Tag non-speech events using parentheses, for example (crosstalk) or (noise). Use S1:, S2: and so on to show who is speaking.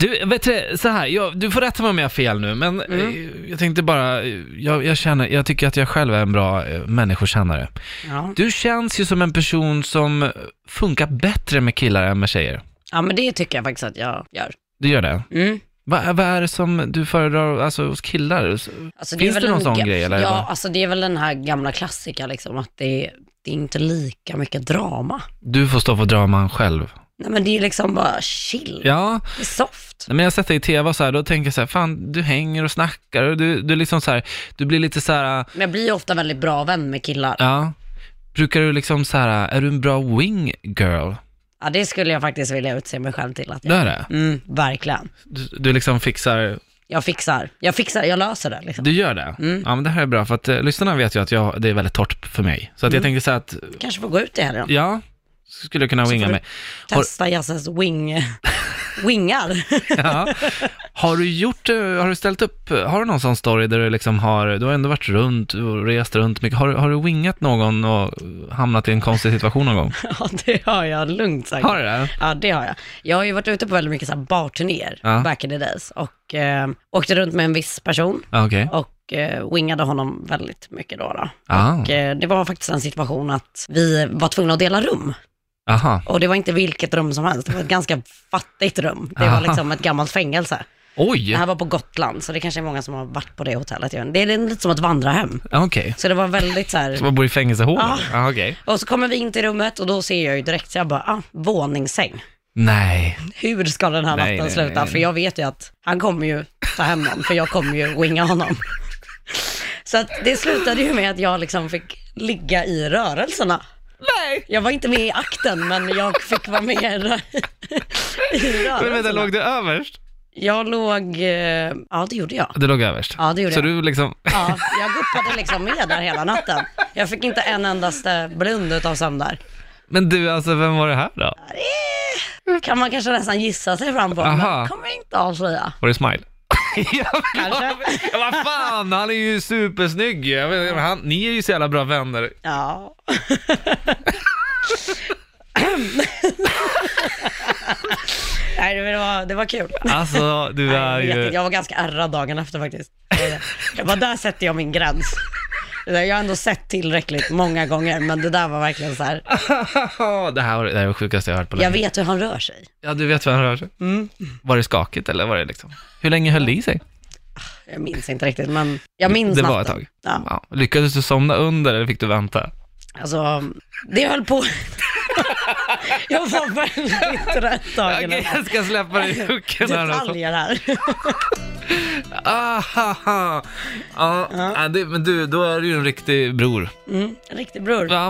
S1: Du, vet du, så här, jag, du får rätta mig om jag har fel nu, men eh, jag tänkte bara, eh, jag, jag, känner, jag tycker att jag själv är en bra eh, människokännare.
S2: Ja.
S1: Du känns ju som en person som funkar bättre med killar än med tjejer.
S2: ja, men det tycker jag faktiskt att jag gör.
S1: Du gör det?
S2: Mm.
S1: Va, vad är det som du föredrar alltså, hos killar? Så-
S2: Alltså,
S1: Finns
S2: är väl
S1: det någon
S2: en
S1: sån
S2: ga-
S1: grej, eller?
S2: Ja, alltså det är väl den här gamla klassiker liksom, att det, det är inte lika mycket drama.
S1: Du får stå för draman själv.
S2: Nej men det är liksom bara chill,
S1: Ja,
S2: det är soft.
S1: men jag har sett dig i tv och så här, då tänker jag så här, fan du hänger och snackar och du, du liksom så här, du blir lite så här,
S2: Men jag blir ju ofta väldigt bra vän med killar.
S1: ja. Brukar du liksom så här, är du en bra wing girl?
S2: Ja, det skulle jag faktiskt vilja utse mig själv till att
S1: Det
S2: jag...
S1: är det?
S2: Mm, verkligen.
S1: Du, du liksom fixar,
S2: Jag fixar, jag fixar, jag löser det liksom.
S1: du gör det? Ja men det här är bra för att eh, lyssnarna vet ju att jag, det är väldigt torrt för mig. Så att
S2: Mm.
S1: jag tänker så här att,
S2: Kanske får gå ut i helgen.
S1: ja, skulle kunna winga
S2: får
S1: mig. Har-
S2: Testa Jasses wing, (laughs) wingar. (laughs)
S1: Ja. Har du gjort, eh, har du ställt upp, eh, har du någon sån story där du liksom har, du har ändå varit runt och rest runt mycket, har, du- har du wingat någon och hamnat i en konstig situation
S2: (laughs)
S1: någon gång?
S2: ja, det har jag lugnt sagt.
S1: Har du det?
S2: Ja, det har jag. Jag har ju varit ute på väldigt mycket så här barturnéer
S1: Ja.
S2: back in the days och eh, åkte runt med en viss person
S1: Ja, Okej.
S2: och eh, wingade honom väldigt mycket då. då.
S1: Ah.
S2: Och, eh, det var faktiskt en situation att vi var tvungna att dela rum
S1: Aha.
S2: och det var inte vilket rum som helst, det var ett ganska fattigt rum. Det
S1: Aha.
S2: var liksom ett gammalt fängelse. Det
S1: Oj!
S2: här var på Gotland, så det kanske är många som har varit på det hotellet. Jag vet inte. Det är lite som att vandra hem.
S1: Ja, Okej.
S2: Så det var väldigt så här...
S1: Så man bor i fängelsehål?
S2: Ja.
S1: Ja, okej.
S2: Och så kommer vi in till rummet och då ser jag ju direkt, så jag bara, ah, våningssäng.
S1: Nej.
S2: Hur ska den här
S1: Nej,
S2: natten
S1: nej,
S2: sluta?
S1: nej, nej.
S2: För jag vet ju att han kommer ju ta hem någon, för jag kommer ju winga honom. Så att det slutade ju med att jag liksom fick ligga i rörelserna.
S1: Nej!
S2: Jag var inte med i akten, men jag fick vara med i rö- (laughs) i
S1: Men vänta,
S2: rörelserna.
S1: låg du överst?
S2: Jag låg, eh, ja det gjorde jag.
S1: Du låg överst?
S2: Ja, det gjorde
S1: Så
S2: jag.
S1: du liksom,
S2: Ja, jag guppade liksom med där hela natten. Jag fick inte en endaste blund utav sömn där.
S1: men du alltså, vem var det här då?
S2: Eh, Kan man kanske nästan gissa sig fram på,
S1: Aha.
S2: men kommer jag inte avslöja.
S1: Var det Smile? (laughs) ja,
S2: Kanske.
S1: men vad fan, han är ju supersnygg Jag vet, inte, han, Ni är ju så jävla bra vänner.
S2: Ja. Nej, men det var, det var kul.
S1: Alltså, du är
S2: jag, vet
S1: ju...
S2: inte, jag var ganska ärrad dagen efter faktiskt. Jag bara, där sätter jag min gräns. Det där, Jag har ändå sett tillräckligt många gånger, men det där var verkligen så här.
S1: (laughs) det här var det, här var det sjukaste jag har hört på
S2: Jag
S1: länge.
S2: vet Mm. hur han rör sig.
S1: Ja, du vet vem han rör sig. Var det skakigt eller var det liksom? Hur länge höll det i sig?
S2: Jag minns inte riktigt, men jag minns
S1: det var ett
S2: natten.
S1: tag.
S2: Ja.
S1: Ja. Lyckades du somna under eller fick du vänta?
S2: Alltså, det höll på. jag var väldigt rätt dagen
S1: Okej,
S2: efter.
S1: jag ska släppa dig i hooken här alltså.
S2: Detaljer här.
S1: Ah, ha, ha. Ja, ja. det, men du, då är du ju en riktig bror.
S2: Mm, riktig bror.
S1: Ja,